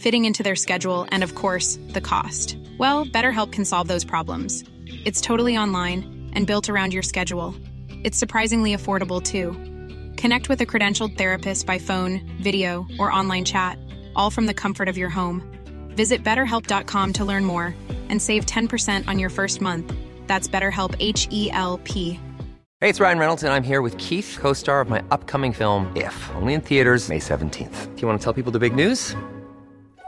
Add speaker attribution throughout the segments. Speaker 1: fitting into their schedule, and of course, the cost. Well, BetterHelp can solve those problems. It's totally online and built around your schedule. It's surprisingly affordable too. Connect with a credentialed therapist by phone, video, or online chat, all from the comfort of your home. Visit betterhelp.com to learn more and save 10% on your first month. That's BetterHelp H E L P.
Speaker 2: Hey, it's Ryan Reynolds, and I'm here with Keith, co-star of my upcoming film, If, only in theaters May 17th. Do you want to tell people the big news?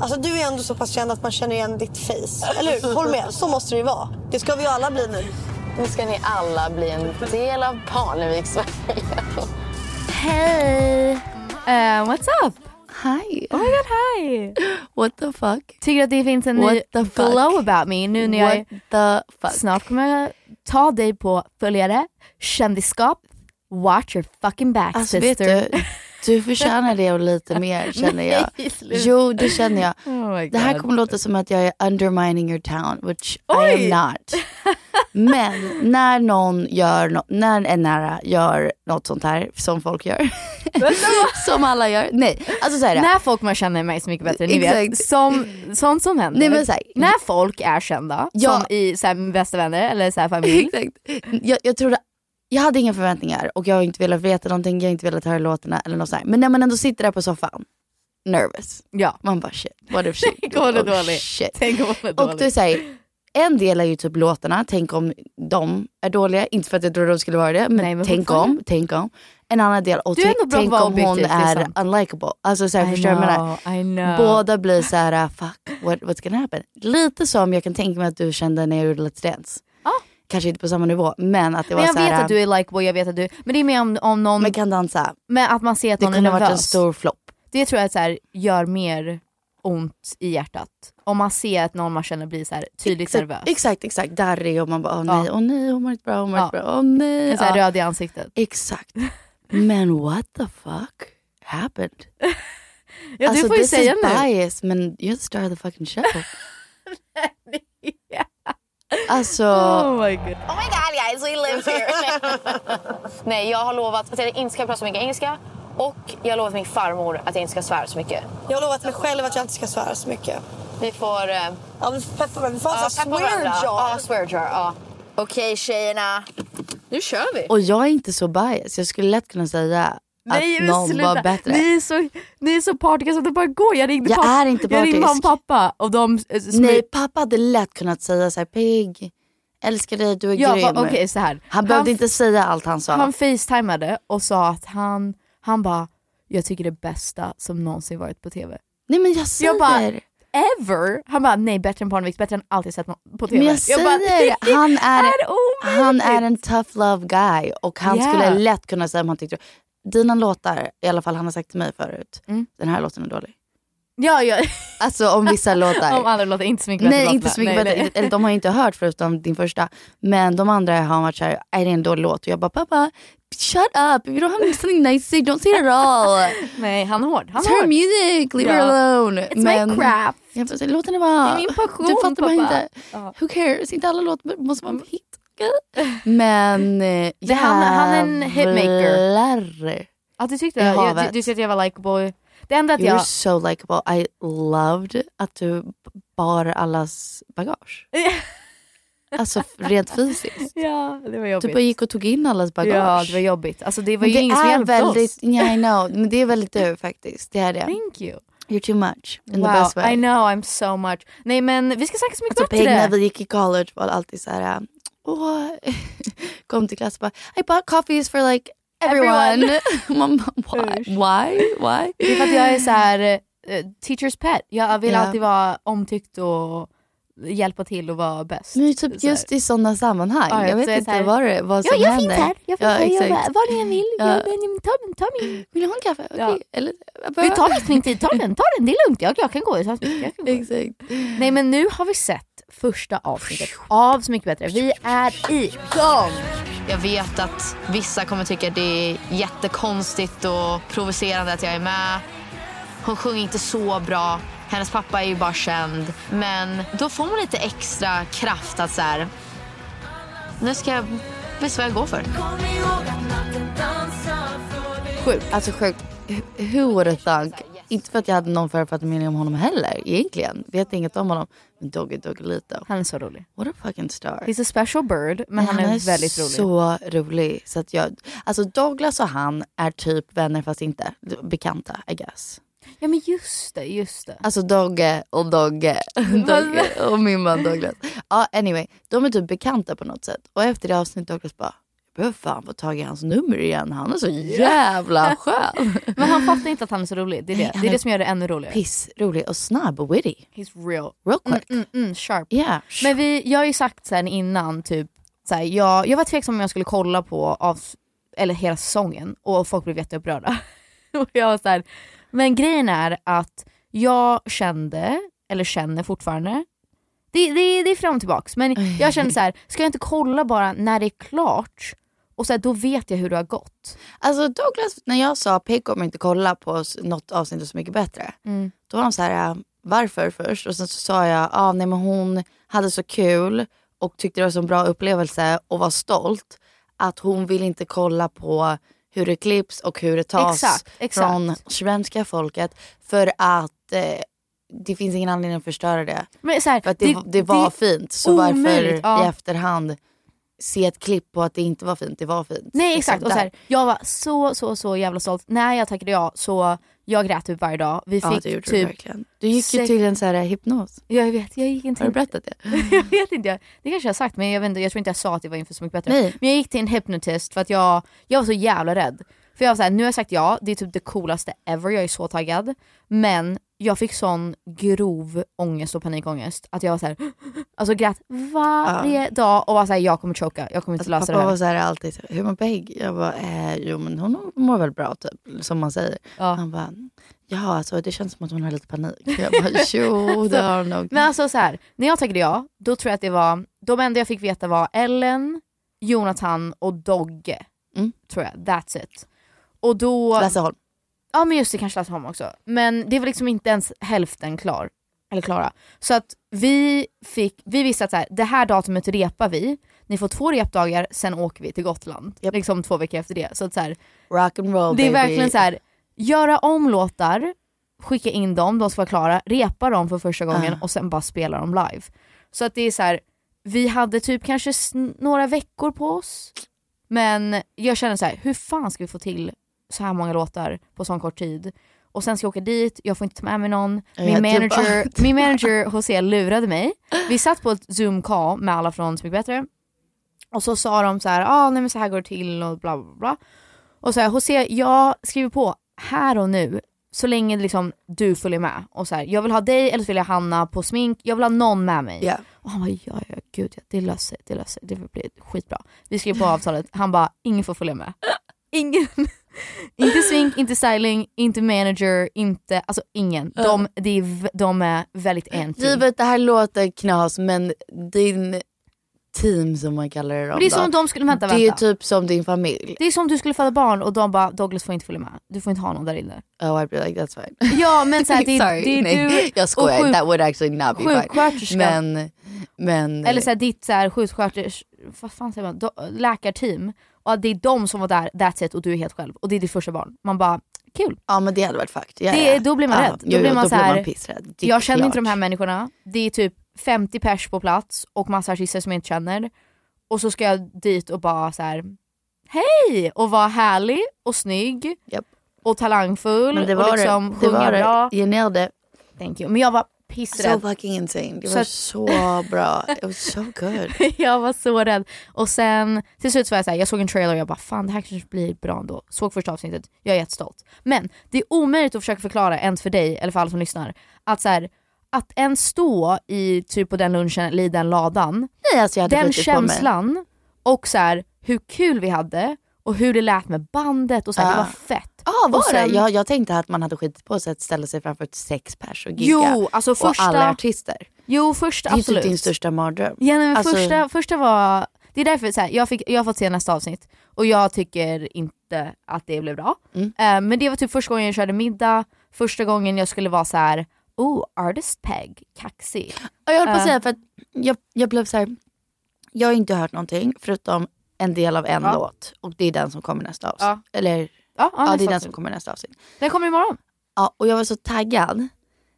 Speaker 3: Alltså du är ändå så pass känd att man känner igen ditt face. Eller hur? Håll med, så måste det ju vara. Det ska vi ju alla bli nu.
Speaker 4: Nu ska ni alla bli en del av Parneviks Sverige.
Speaker 5: Hej! Eh, what's up?
Speaker 6: Hi.
Speaker 5: Oh my god, hi!
Speaker 6: What the fuck?
Speaker 5: Tycker att det finns en
Speaker 6: What
Speaker 5: ny
Speaker 6: the fuck?
Speaker 5: glow about me nu när jag
Speaker 6: What the fuck?
Speaker 5: snart kommer jag ta dig på följare, kändisskap, watch your fucking back
Speaker 6: Alltså vet
Speaker 5: sister.
Speaker 6: du, du förtjänar det och lite mer känner jag.
Speaker 5: Nej, sluta.
Speaker 6: Jo det känner jag.
Speaker 5: Oh my
Speaker 6: Det här
Speaker 5: God.
Speaker 6: kommer låta som att jag är undermining your town, which I
Speaker 5: Oj.
Speaker 6: am not. Men när någon gör, nå- när en nära gör något sånt här som folk gör, som alla gör, nej. Alltså så här,
Speaker 5: När folk man känner mig så mycket bättre, ni vet.
Speaker 6: Exakt.
Speaker 5: Som, sånt som händer.
Speaker 6: Nej, men så här-
Speaker 5: när folk är kända,
Speaker 6: Ja.
Speaker 5: som i så här, med bästa vänner eller så här, familj.
Speaker 6: Exakt. Jag, jag trodde, jag hade inga förväntningar och jag har inte velat veta någonting, jag har inte velat höra låtarna eller något sånt. Men när man ändå sitter där på soffan, nervous.
Speaker 5: Ja.
Speaker 6: Man bara shit, what if shit,
Speaker 5: Tänk om hon är
Speaker 6: oh,
Speaker 5: dålig.
Speaker 6: shit.
Speaker 5: Tänk om hon är
Speaker 6: Och du
Speaker 5: dålig.
Speaker 6: säger, en del är ju typ låtarna, tänk om de är dåliga. Inte för att jag trodde de skulle vara det, men,
Speaker 5: Nej, men
Speaker 6: tänk om,
Speaker 5: fortfarande.
Speaker 6: tänk om. En annan del, och
Speaker 5: Du är
Speaker 6: tänk-
Speaker 5: ändå bra på
Speaker 6: tänk
Speaker 5: att vara
Speaker 6: om hon
Speaker 5: objektiv,
Speaker 6: är
Speaker 5: liksom.
Speaker 6: unlikable. Alltså så här,
Speaker 5: I
Speaker 6: förstår du vad jag menar?
Speaker 5: know, I know.
Speaker 6: Båda blir så här, "Ah, fuck, what, what's gonna happen? Lite som jag kan tänka mig att du kände när jag gjorde Let's Dance.
Speaker 5: Ja.
Speaker 6: Kanske inte på samma nivå, men att det
Speaker 5: Men
Speaker 6: var
Speaker 5: jag
Speaker 6: så här,
Speaker 5: vet att du är likeable, jag vet att du, men det är mer om, om någon,
Speaker 6: man kan dansa.
Speaker 5: men att man ser att
Speaker 6: Det
Speaker 5: någon är
Speaker 6: kunde ha varit en
Speaker 5: nervös.
Speaker 6: stor flopp.
Speaker 5: Det tror jag så här, gör mer ont i hjärtat. Om man ser att någon man känner blir så här, tydligt
Speaker 6: Exakt-
Speaker 5: nervös.
Speaker 6: Exakt, exakt. Darrig och man bara, åh
Speaker 5: Ja.
Speaker 6: nej, åh nej, hon mår inte bra, hon mår
Speaker 5: Ja.
Speaker 6: inte bra, åh nej.
Speaker 5: En Så här,
Speaker 6: ja.
Speaker 5: Röd i ansiktet.
Speaker 6: Exakt. Men what the fuck happened?
Speaker 5: Ja,
Speaker 6: alltså
Speaker 5: du får ju
Speaker 6: this
Speaker 5: säga
Speaker 6: is
Speaker 5: nu.
Speaker 6: bias, men you're the star of the fucking show. alltså,
Speaker 5: Oh my god.
Speaker 4: Oh my god guys, we live here. Nej, jag har lovat att jag inte ska prata så mycket engelska och jag har lovat min farmor att jag inte ska svära så mycket.
Speaker 3: Jag har lovat mig själv att jag inte ska svära så mycket.
Speaker 4: Vi får... Eh,
Speaker 3: Ja, vi får peppa varandra. Vi får ha
Speaker 4: ja,
Speaker 3: en sån
Speaker 4: peppa
Speaker 3: här swear
Speaker 4: varandra. Ja,
Speaker 3: jar.
Speaker 4: swear jar. Ja. Okej tjejerna, nu kör vi.
Speaker 6: och jag är inte så bias. Jag skulle lätt kunna säga
Speaker 5: Nej,
Speaker 6: att
Speaker 5: men
Speaker 6: någon
Speaker 5: sluta.
Speaker 6: var bättre.
Speaker 5: Ni är så, ni är så partiska så det bara går. Jag ringde
Speaker 6: Jag
Speaker 5: pappa,
Speaker 6: är inte
Speaker 5: jag ringde
Speaker 6: partisk.
Speaker 5: mamma och pappa och de... eh, smy-
Speaker 6: Nej, pappa hade lätt kunnat säga så här, Pig, älskar dig, du är
Speaker 5: ja,
Speaker 6: grym.
Speaker 5: va- okej så här.
Speaker 6: Han behövde inte säga allt han sa.
Speaker 5: han facetimade och sa att han, han bara, jag tycker det bästa som någonsin varit på tv.
Speaker 6: Nej men jag säger,
Speaker 5: Jag bara, ever? Han bara, nej bättre än Parneviks, bättre än allt jag sett nå- på TV.
Speaker 6: men jag säger
Speaker 5: bara,
Speaker 6: han, är,
Speaker 5: är omöjligt.
Speaker 6: han är en tough love guy och han
Speaker 5: Ja.
Speaker 6: skulle lätt kunna säga om han tyckte dina låtar, i alla fall han har sagt till mig förut,
Speaker 5: Mm.
Speaker 6: den här låten är dålig.
Speaker 5: Ja, ja.
Speaker 6: Alltså om vissa låtar.
Speaker 5: Om andra låter inte så mycket
Speaker 6: Nej
Speaker 5: bättre
Speaker 6: inte
Speaker 5: låtar.
Speaker 6: så mycket
Speaker 5: Nej,
Speaker 6: bättre.
Speaker 5: nej.
Speaker 6: Eller de har ju inte hört förutom din första. Men de andra har varit såhär, är det är en dålig låt? Och jag bara, pappa shut up, if you don't have something nice to say, don't say it at all.
Speaker 5: Nej, han är hård. Han
Speaker 6: It's
Speaker 5: är
Speaker 6: her
Speaker 5: hård.
Speaker 6: music, leave her
Speaker 5: Ja.
Speaker 6: alone.
Speaker 5: It's my craft.
Speaker 6: Jag bara, låten är bara,
Speaker 5: Det är min passion,
Speaker 6: du fattar bara
Speaker 5: pappa.
Speaker 6: inte.
Speaker 5: Ja.
Speaker 6: Who cares, inte alla låtar måste vara en hit. Men eh,
Speaker 5: Det- han- han är en hitmaker.
Speaker 6: jävlar.
Speaker 5: Ja, du tyckte
Speaker 6: I
Speaker 5: det? Jag, du,
Speaker 6: havet.
Speaker 5: du tyckte att jag var likeable. Det enda att
Speaker 6: You're
Speaker 5: jag...
Speaker 6: so likable. I loved att du bar allas bagage. Alltså rent fysiskt.
Speaker 5: ja, det var
Speaker 6: Du
Speaker 5: jobbigt.
Speaker 6: bara gick och tog in allas bagage.
Speaker 5: Ja, det var jobbigt. Alltså det var
Speaker 6: Men
Speaker 5: ju ingen som
Speaker 6: är
Speaker 5: hjälpte
Speaker 6: väldigt,
Speaker 5: oss.
Speaker 6: Yeah, I know. Men det är väldigt du faktiskt. Det är det.
Speaker 5: Thank you.
Speaker 6: You're too much. In
Speaker 5: wow,
Speaker 6: the best way.
Speaker 5: I know, I'm so much. Nej men vi ska snacka så mycket
Speaker 6: Alltså, Peg,
Speaker 5: bättre.
Speaker 6: när vi gick i college var det alltid så här, äh, åh, kom till klassen och bara, I bought coffees for like everyone.
Speaker 5: Everyone.
Speaker 6: Man bara, why?
Speaker 5: Usch.
Speaker 6: Why? Why?
Speaker 5: Det är för att jag är så här eh, teacher's pet. Jag vill
Speaker 6: Ja.
Speaker 5: alltid vara omtyckt och hjälpa till och vara bäst.
Speaker 6: Men
Speaker 5: Så
Speaker 6: typ
Speaker 5: här.
Speaker 6: just i sådana sammanhang.
Speaker 5: Ja,
Speaker 6: jag
Speaker 5: så är
Speaker 6: vet
Speaker 5: det
Speaker 6: inte
Speaker 5: så här,
Speaker 6: vad, det, vad som
Speaker 5: Ja, jag
Speaker 6: händer.
Speaker 5: finns här. Jag finns
Speaker 6: Ja,
Speaker 5: här. Jag,
Speaker 6: exakt.
Speaker 5: vad ni än vill.
Speaker 6: Ja.
Speaker 5: Jag, Benjamin, ta, min- ta min.
Speaker 6: Vill du ha en kaffe? Okej.
Speaker 5: Ja.
Speaker 6: Eller, jag
Speaker 5: Vi
Speaker 6: behöver-
Speaker 5: tar just min tid. Ta den, ta den. Det är lugnt. Jag, jag kan gå. ut. Jag kan gå. ut.
Speaker 6: Exakt.
Speaker 5: Nej men nu har vi sett första avsnittet av Så mycket bättre. Vi är igång!
Speaker 4: Jag vet att vissa kommer tycka det är jättekonstigt och provocerande att jag är med. Hon sjunger inte så bra. Hennes pappa är ju bara känd. Men då får man lite extra kraft att så här... Nu ska jag visa vad jag går för.
Speaker 6: Sjukt. Alltså sjukt. H- Who would have thunk? Inte för att jag hade någon förutfattad mening om honom heller egentligen. Vet inget om honom. Men Doggy Doggy Lito.
Speaker 5: Han är så rolig.
Speaker 6: What a fucking star.
Speaker 5: He's a special bird men han, är, väldigt rolig.
Speaker 6: så rolig. Så att jag, alltså Douglas och han är typ vänner fast inte bekanta I guess.
Speaker 5: Ja men just det, just det.
Speaker 6: Alltså Dogge och Dogge. Dogge och min man Douglas. Ja, anyway, de är typ bekanta på något sätt. Och efter det avsnittet Douglas bara, jag behöver fan få tag i hans nummer igen. Han är så jävla skön.
Speaker 5: Men han fattar inte att han är så rolig. Det är det,
Speaker 6: han
Speaker 5: det, är
Speaker 6: är
Speaker 5: det som gör det ännu roligare.
Speaker 6: Pissrolig och snabb och witty.
Speaker 5: He's real.
Speaker 6: Real quick.
Speaker 5: Mm, mm, sharp.
Speaker 6: Yeah.
Speaker 5: Men vi, jag har ju sagt sen innan, typ, så här, jag, jag var tveksam om jag skulle kolla på av, eller hela säsongen och folk blev jätteupprörda. och jag var så här, men grejen är att jag kände, eller känner fortfarande, det, det, det är fram och tillbaks, men jag kände så här, ska jag inte kolla bara när det är klart? Och så här, då vet jag hur det har gått.
Speaker 6: Alltså Douglas, när jag sa Peg kommer inte kolla på s- något avsnitt av Så mycket bättre.
Speaker 5: Mm.
Speaker 6: Då var de så här, äh, varför först? Och sen så sa jag, ah, nej men hon hade så kul och tyckte det var så en bra upplevelse och var stolt att hon vill inte kolla på hur det klipps och hur det tas
Speaker 5: Exakt, exakt.
Speaker 6: från svenska folket för att eh, det finns ingen anledning att förstöra det.
Speaker 5: Men så här,
Speaker 6: För att det, det, var
Speaker 5: det-
Speaker 6: fint, så varför
Speaker 5: omöjligt, ja.
Speaker 6: i efterhand se ett klipp på att det inte var fint, det var fint.
Speaker 5: Nej
Speaker 6: Liksom
Speaker 5: exakt, och
Speaker 6: där.
Speaker 5: så här, jag var så så så jävla stolt. När jag tackade ja så jag grät typ varje dag. Vi
Speaker 6: Ja,
Speaker 5: fick
Speaker 6: det gjorde du
Speaker 5: typ,
Speaker 6: verkligen. Du gick ju
Speaker 5: sex-
Speaker 6: till en så här hypnos.
Speaker 5: jag vet, jag gick inte
Speaker 6: Har du berättat det?
Speaker 5: jag vet inte, jag- det kanske jag har sagt men jag, vet inte, jag tror inte jag sa att det var inför Så mycket bättre.
Speaker 6: Nej.
Speaker 5: Men jag gick till en hypnotist för att jag, jag var så jävla rädd. För jag var såhär, nu har jag sagt ja, det är typ det coolaste ever, jag är så taggad. Men jag fick sån grov ångest och panikångest att jag var såhär, alltså grät varje dag och var såhär, jag kommer choka, jag kommer inte
Speaker 6: Alltså,
Speaker 5: lösa
Speaker 6: pappa
Speaker 5: det
Speaker 6: var
Speaker 5: här.
Speaker 6: så här alltid, så här, hur mår Peg? Jag bara, eh, jo men hon mår väl bra typ, som man säger.
Speaker 5: Ja.
Speaker 6: Han bara, ja alltså det känns som att hon har lite panik. Jag bara, jo det har hon nog.
Speaker 5: Men alltså så här, när jag tackade ja, då tror jag att det var, de enda jag fick veta var Ellen, Jonathan och Dogge.
Speaker 6: Mm.
Speaker 5: Tror jag, that's it. Och då...
Speaker 6: Lasse Holm.
Speaker 5: Ja men just det, kanske Lasse Holm också. Men det var liksom inte ens hälften klar. Eller klara. Så att vi, fick, vi visste att så här, det här datumet repar vi, ni får två repdagar, sen åker vi till Gotland.
Speaker 6: Japp.
Speaker 5: Liksom två veckor efter det. Så att så här,
Speaker 6: Rock and roll
Speaker 5: det
Speaker 6: baby.
Speaker 5: är verkligen så här, göra om låtar, skicka in dem, de ska vara klara, repa dem för första gången
Speaker 6: Ah.
Speaker 5: och sen bara spela dem live. Så att det är så här, vi hade typ kanske sn- några veckor på oss, men jag känner så här, hur fan ska vi få till så här många låtar på sån kort tid? Och sen ska jag åka dit, jag får inte ta med mig någon. Min,
Speaker 6: Ja, typ
Speaker 5: manager,
Speaker 6: allt.
Speaker 5: min manager José lurade mig. Vi satt på ett zoom-call med alla från Så mycket bättre. Och så sa de så här, ah, nej men så här går det till och bla bla bla. Och så här, Jose, jag skriver på här och nu så länge liksom du följer med. Och så här, jag vill ha dig eller så vill jag Hanna på smink, jag vill ha någon med mig.
Speaker 6: Ja.
Speaker 5: Och han bara, ja, ja ja, gud ja, det löser sig, det löser sig, det blir skitbra. Vi skrev på avtalet, han bara, ingen får följa med. Ingen. inte smink, inte styling, inte manager, inte, alltså ingen. De, de, är v- de är väldigt anti.
Speaker 6: Givet det här låter knas men din team som man kallar det,
Speaker 5: Men det är som om
Speaker 6: då,
Speaker 5: de skulle, vänta,
Speaker 6: det är
Speaker 5: vänta.
Speaker 6: typ som din familj.
Speaker 5: Det är som om du skulle föda barn och de bara Douglas får inte följa med, du får inte ha någon där inne.
Speaker 6: Oh I'd be like that's fine.
Speaker 5: Ja men såhär, det, är-
Speaker 6: Sorry,
Speaker 5: det är
Speaker 6: nej,
Speaker 5: du
Speaker 6: jag skojar,
Speaker 5: och sjuk-
Speaker 6: that would actually not be
Speaker 5: sjuksköterska.
Speaker 6: fine. Men, men
Speaker 5: eller såhär, ditt såhär, sjuksköters... Vad fan säger man? Do- läkarteam. Och att det är de som var där, that's it, och du är helt själv. Och det är ditt första barn. Man bara, kul.
Speaker 6: ja men det hade varit fucked. Ja,
Speaker 5: Det-
Speaker 6: ja.
Speaker 5: då blir man
Speaker 6: ja,
Speaker 5: rädd. Då
Speaker 6: Jo, jo,
Speaker 5: blir man
Speaker 6: då
Speaker 5: så här,
Speaker 6: blir man pissrädd. Det är
Speaker 5: jag känner inte
Speaker 6: Typ klart.
Speaker 5: de här människorna. Det är typ 50 pers på plats och massa artister som jag inte känner. Och så ska jag dit och bara så här. hej! Och vara härlig och snygg
Speaker 6: Japp.
Speaker 5: och talangfull
Speaker 6: Men det
Speaker 5: och
Speaker 6: var
Speaker 5: liksom
Speaker 6: det. Det
Speaker 5: sjunga
Speaker 6: var
Speaker 5: bra.
Speaker 6: det. You nailed it.
Speaker 5: Thank you. Men jag var
Speaker 6: So
Speaker 5: pissrädd.
Speaker 6: fucking insane. Det
Speaker 5: Så
Speaker 6: var
Speaker 5: att-
Speaker 6: så bra. It was so good.
Speaker 5: jag var så rädd. Och sen till slut så var jag så här, jag såg en trailer och jag bara fan det här kanske blir bra ändå. Såg första avsnittet, jag är jättestolt. Men det är omöjligt att försöka förklara ens för dig eller för alla som lyssnar att så här, att ens stå i typ på den lunchen eller i den ladan,
Speaker 6: Nej, alltså jag hade
Speaker 5: den
Speaker 6: skitit på mig.
Speaker 5: känslan och så här, hur kul vi hade och hur det lät med bandet och så här, det
Speaker 6: Ja.
Speaker 5: var fett.
Speaker 6: Ja, ah, var
Speaker 5: Och sen-
Speaker 6: det? Jag, jag tänkte att man hade skitit på sig att ställa sig framför ett sex pers och gigga.
Speaker 5: Jo, alltså första-
Speaker 6: Och alla artister.
Speaker 5: Jo första
Speaker 6: Det är ju
Speaker 5: absolut.
Speaker 6: typ din största mardröm.
Speaker 5: Ja, nej, men
Speaker 6: Alltså-
Speaker 5: första, första var, det är därför så här, jag, fick, jag har fått se nästa avsnitt och jag tycker inte att det blev bra.
Speaker 6: Mm.
Speaker 5: Eh, men det var typ första gången jag körde middag, första gången jag skulle vara så här. Oh, artist peg, kaxig. Eh,
Speaker 6: Ja, jag höll på
Speaker 5: Ja.
Speaker 6: att säga för att jag, jag blev så här. jag har inte hört någonting förutom en del av en
Speaker 5: Ja.
Speaker 6: låt och det är den som kommer nästa avsnitt.
Speaker 5: Ja.
Speaker 6: Eller ja,
Speaker 5: Ja, ja,
Speaker 6: det
Speaker 5: nästa
Speaker 6: är den
Speaker 5: avsnitt.
Speaker 6: som kommer nästa avsnitt.
Speaker 5: den kommer imorgon.
Speaker 6: Ja, och jag var så taggad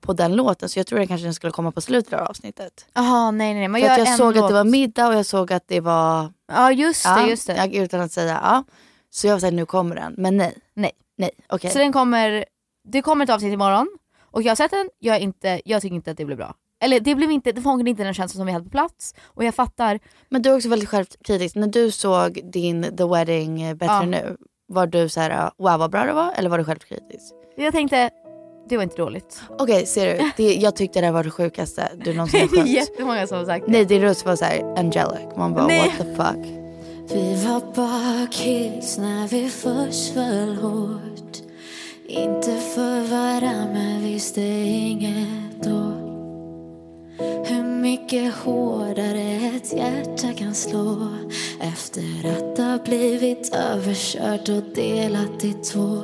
Speaker 6: på den låten så jag tror att kanske den skulle komma på slutet av avsnittet.
Speaker 5: Jaha, nej nej nej. Men
Speaker 6: För att
Speaker 5: gör
Speaker 6: jag
Speaker 5: en
Speaker 6: såg att
Speaker 5: låt.
Speaker 6: det var middag och jag såg att det var...
Speaker 5: Ja just det,
Speaker 6: Ja,
Speaker 5: just det.
Speaker 6: Jag, utan att säga ja. Så jag var såhär, nu kommer den. Men nej.
Speaker 5: Nej.
Speaker 6: Nej, okej.
Speaker 5: Så den kommer, det kommer ett avsnitt imorgon och jag har sett den, jag, är inte, jag tycker inte att det blev bra. Eller det blev inte, det fångade inte den känslan som vi hade på plats och jag fattar,
Speaker 6: Men du är också väldigt självkritisk. När du såg din The Wedding eh, Bättre
Speaker 5: Ja.
Speaker 6: nu, var du så här, wow vad bra det var eller var du självkritisk?
Speaker 5: jag tänkte det var inte dåligt.
Speaker 6: Okej, ser du? Det, jag tyckte det här var det sjukaste du någonsin har
Speaker 5: Det är
Speaker 6: sjungit.
Speaker 5: jättemånga som har sagt det.
Speaker 6: Nej, din röst var så här angelic. Man bara,
Speaker 5: Nej.
Speaker 6: what the fuck.
Speaker 7: Vi var bakis när vi först föll hårt Inte för varann men visste inget då Hur mycket hårdare ett hjärta kan slå Efter att ha blivit överkört och delat i två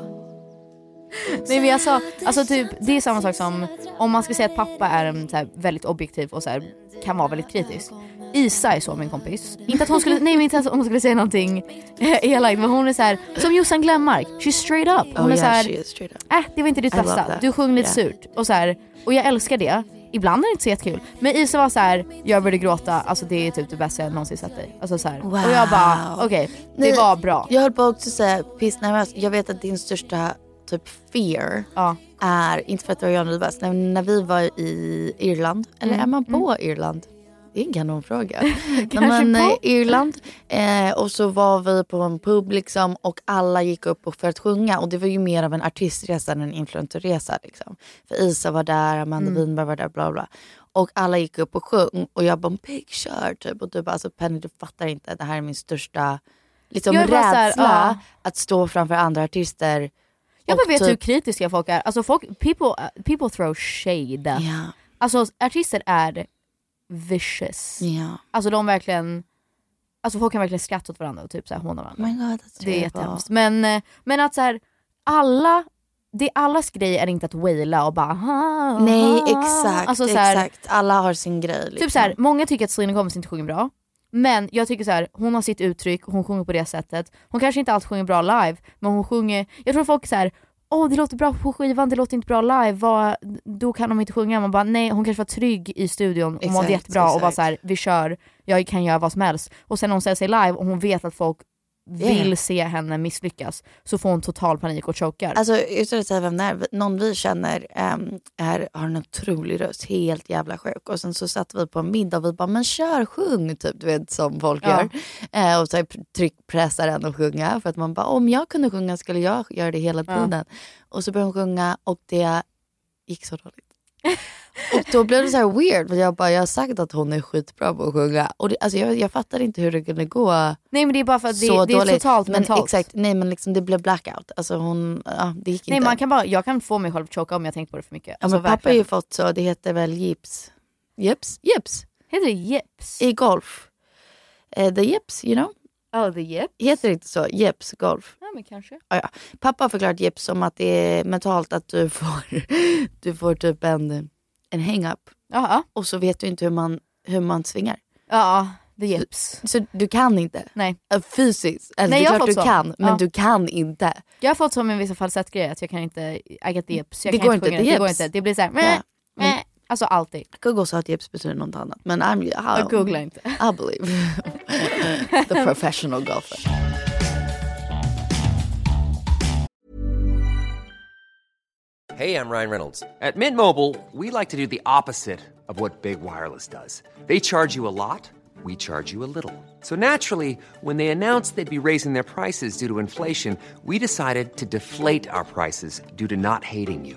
Speaker 5: Nej men jag sa, alltså typ, det är samma sak som om man ska säga att pappa är en, så här, väldigt objektiv och så här, kan vara väldigt kritisk. Isa är så min kompis. Inte att hon skulle, nej men inte att hon skulle säga någonting eh, elakt men hon är så här, som Jossan Glenmark, she's straight up. Hon
Speaker 6: Oh,
Speaker 5: är så
Speaker 6: yeah,
Speaker 5: här,
Speaker 6: she is straight up.
Speaker 5: äh, det var inte ditt
Speaker 6: I love
Speaker 5: bästa,
Speaker 6: that.
Speaker 5: du sjöng lite
Speaker 6: Yeah.
Speaker 5: surt. Och, så här, och jag älskar det. Ibland är det inte så jättekul. Men Isa var så här, jag började gråta, alltså det är typ det bästa jag någonsin sett dig. Alltså så här. Och jag bara,
Speaker 6: Wow.
Speaker 5: okej,
Speaker 6: Nej,
Speaker 5: det var bra.
Speaker 6: Jag höll på också säga pissnervös. alltså, Jag vet att din största typ fear
Speaker 5: Ja.
Speaker 6: är, inte för att det var jag nervös, när, när vi var i Irland, eller
Speaker 5: Mm,
Speaker 6: är man på Irland? Det är en kanonfråga. Kanske men, eh,
Speaker 5: på.
Speaker 6: Irland. Eh, och så var vi på en pub liksom, och alla gick upp och- för att sjunga. Och det var ju mer av en artistresa än en influencerresa. Liksom. För Isa var där, Amanda
Speaker 5: Mm.
Speaker 6: Winberg var där, bla bla. Och alla gick upp och sjöng och jag bara picture typ. Och du bara alltså Penny du fattar inte, det här är min största liksom,
Speaker 5: Jag
Speaker 6: rädsla.
Speaker 5: bara så här, ja.
Speaker 6: Att stå framför andra artister.
Speaker 5: Jag
Speaker 6: och
Speaker 5: bara vet
Speaker 6: typ-
Speaker 5: hur kritiska folk är. Alltså folk, people, people throw shade.
Speaker 6: Ja,
Speaker 5: Alltså artister är vicious.
Speaker 6: ja.
Speaker 5: Alltså de verkligen, alltså folk kan verkligen skratta åt varandra och typ såhär håna varandra.
Speaker 6: Oh my god, that's
Speaker 5: det är
Speaker 6: terrible.
Speaker 5: jättehemskt. Men, eh, men att såhär, alla, det allas grej är inte att waila och bara "Ah, ah,
Speaker 6: Nej
Speaker 5: ah."
Speaker 6: exakt,
Speaker 5: Alltså så här,
Speaker 6: exakt. Alla har sin grej. Liksom.
Speaker 5: Typ så här, många tycker att Selena Gomez inte sjunger bra. Men jag tycker så här, hon har sitt uttryck, hon sjunger på det sättet. Hon kanske inte alltid sjunger bra live, men hon sjunger, jag tror folk så här, åh det låter bra på skivan, det låter inte bra live, vad, då kan de inte sjunga. Man bara nej, hon kanske var trygg i studion, hon mådde
Speaker 6: Exakt,
Speaker 5: jättebra och bara
Speaker 6: exakt.
Speaker 5: så här, vi kör, jag kan göra vad som helst. Och sen när hon ställer sig live och hon vet att folk vill
Speaker 6: Yeah.
Speaker 5: se henne misslyckas, så får hon total panik och chokar.
Speaker 6: Alltså utan att säga vem det är, vi- någon vi känner ehm, är, har en otrolig röst, helt jävla sjuk. Och sen så satt vi på en middag och vi bara, men kör sjung, typ, du vet som folk
Speaker 5: Ja.
Speaker 6: gör. Eh, och så här tryckpressar en att sjunga för att man bara, om jag kunde sjunga skulle jag göra det hela tiden. Och så började hon sjunga och det gick så dåligt. Och då blev det så här weird för jag bara, jag har sagt att hon är skitbra på att sjunga. Och det, alltså jag, jag fattar inte hur det kunde gå
Speaker 5: Nej men det är bara för att det,
Speaker 6: så
Speaker 5: det är
Speaker 6: dåligt.
Speaker 5: totalt
Speaker 6: men,
Speaker 5: mentalt.
Speaker 6: Exakt, nej men liksom det blev blackout. Alltså hon, ja, det gick
Speaker 5: Nej,
Speaker 6: inte.
Speaker 5: man kan bara, jag kan få mig själv att choka om jag tänkt på det för mycket. Alltså,
Speaker 6: ja, men pappa har ju fått så, det heter väl gips. Gips? Gips.
Speaker 5: Heter det jeps?
Speaker 6: I golf. Eh, the gips, you know.
Speaker 5: Ja, det är jeps.
Speaker 6: Heter det inte så? Gips, golf.
Speaker 5: Ja, men kanske.
Speaker 6: Ah, ja. Pappa har förklarat gips som att det är mentalt att du får, du får typ en, en hang-up.
Speaker 5: Jaha.
Speaker 6: Och så vet du inte hur man, hur man svingar.
Speaker 5: Ja, det är jeps.
Speaker 6: Så du kan inte?
Speaker 5: Nej.
Speaker 6: Eh, Fysiskt? Eller
Speaker 5: Nej,
Speaker 6: det
Speaker 5: jag
Speaker 6: är
Speaker 5: har
Speaker 6: klart du
Speaker 5: fått så.
Speaker 6: kan, men
Speaker 5: Ja.
Speaker 6: du kan inte.
Speaker 5: Jag har fått som en vissa falsettgrejer att jag kan inte, I get the jeps. Jag
Speaker 6: Det
Speaker 5: kan
Speaker 6: går
Speaker 5: inte,
Speaker 6: inte,
Speaker 5: sjunga
Speaker 6: det
Speaker 5: det går
Speaker 6: jeps.
Speaker 5: inte. Det blir såhär,
Speaker 6: Ja.
Speaker 5: meh, meh. Alltså alltid.
Speaker 6: Google sa att gips betyder något annat. Men I'm, I,
Speaker 5: Jag googlar inte.
Speaker 6: I believe. The professional golfer.
Speaker 2: Hey, I'm Ryan Reynolds. At Mint Mobile, we like to do the opposite of what Big Wireless does. They charge you a lot, we charge you a little. So naturally, when they announced they'd be raising their prices due to inflation, we decided to deflate our prices due to not hating you.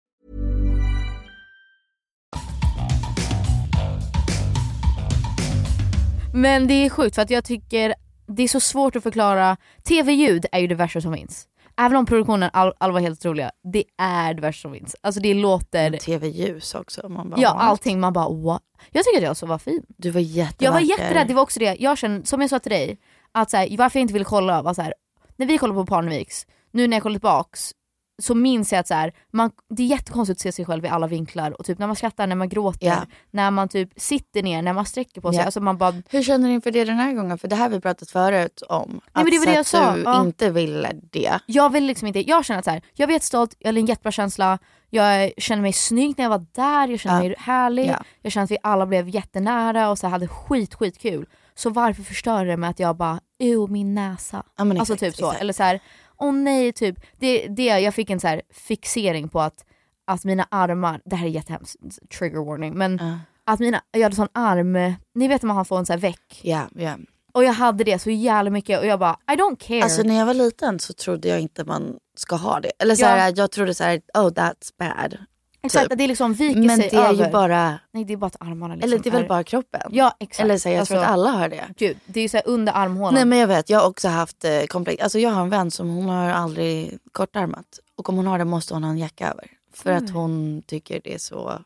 Speaker 5: Men det är sjukt för att jag tycker det är så svårt att förklara. TV-ljud är ju det värsta som finns. Även om produktionen, all, all var helt otroliga, det är det värsta som finns. Alltså det låter,
Speaker 6: Tv-ljus också. Man bara,
Speaker 5: ja
Speaker 6: wow.
Speaker 5: allting, man bara what? Jag tycker att jag så var fin.
Speaker 6: Du var jättevacker.
Speaker 5: Jag var jätterädd, det var också det jag kände, som jag sa till dig, att så här, varför jag inte ville kolla var så här, när vi kollade på Parneviks, nu när jag kollar tillbaks så minns jag att så här, man, det är jättekonstigt att se sig själv i alla vinklar och typ när man skrattar, när man gråter,
Speaker 6: Ja.
Speaker 5: när man typ sitter ner, när man sträcker på sig.
Speaker 6: Ja.
Speaker 5: Alltså man bara,
Speaker 6: Hur känner du inför det den här gången? För det här har vi pratat förut om.
Speaker 5: men det var det jag
Speaker 6: så att
Speaker 5: sa.
Speaker 6: du
Speaker 5: Ja.
Speaker 6: inte ville det.
Speaker 5: jag vill liksom inte, jag känner att så här, jag är jättestolt, jag har en jättebra känsla, jag känner mig snygg när jag var där, jag känner
Speaker 6: Ja.
Speaker 5: mig härlig,
Speaker 6: Ja.
Speaker 5: jag känner att vi alla blev jättenära och så här, hade skit skitkul. Så varför förstöra det med att jag bara, ew min näsa.
Speaker 6: Ja, men
Speaker 5: alltså
Speaker 6: exakt,
Speaker 5: typ så.
Speaker 6: exakt.
Speaker 5: Eller så här, åh nej, typ. Det, det, jag fick en så här fixering på att, att mina armar, det här är jättehemskt, trigger warning, men
Speaker 6: Ja.
Speaker 5: att mina, jag hade sån arm, ni vet när man får en sån här väck.
Speaker 6: Ja, ja.
Speaker 5: Och jag hade det så jävla mycket och jag bara, I don't care.
Speaker 6: Alltså när jag var liten så trodde jag inte man ska ha det. Eller så här, jag trodde så här, oh that's bad.
Speaker 5: Exakt,
Speaker 6: typ.
Speaker 5: att det liksom viker
Speaker 6: Men
Speaker 5: sig
Speaker 6: det är
Speaker 5: över.
Speaker 6: ju bara,
Speaker 5: Nej det är bara att armarna liksom
Speaker 6: eller det är väl
Speaker 5: är-
Speaker 6: bara kroppen.
Speaker 5: Ja exakt.
Speaker 6: Eller så här, jag tror att
Speaker 5: Alltså,
Speaker 6: alla har det.
Speaker 5: Gud, det är ju såhär under armhålan.
Speaker 6: Nej men jag vet, jag har också haft eh, komplex. Alltså jag har en vän som hon har aldrig
Speaker 5: Mm.
Speaker 6: kortarmat. Och om hon har det måste hon ha en jacka över. För att hon tycker det är så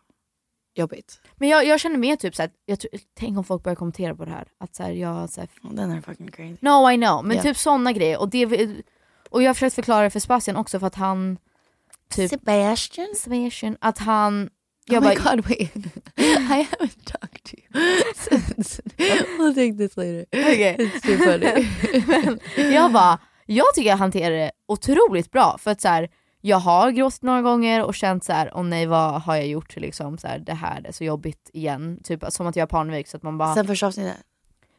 Speaker 6: jobbigt.
Speaker 5: Men jag, jag känner mer typ såhär, jag tror, tänk om folk börjar kommentera på det här. Att såhär, jag, såhär,
Speaker 6: Den är fucking crazy.
Speaker 5: No I know, men
Speaker 6: Yeah.
Speaker 5: typ sådana grejer. Och, det, och jag har försökt förklara det för Sebastian också för att han... Typ,
Speaker 6: Sebastian?
Speaker 5: Sebastian, att han... Jag
Speaker 6: oh my
Speaker 5: bara-
Speaker 6: god wait. I haven't talked to you since. We'll take this later.
Speaker 5: Okej.
Speaker 6: It's too funny.
Speaker 5: Men jag bara, jag tycker jag hanterar det otroligt bra. För att så här, jag har gråtit några gånger och känt så här, åh nej vad har jag gjort? Liksom, så här, det här det är så jobbigt igen. Typ som att jag är panvik så att man bara...
Speaker 6: Sen första avsnittet.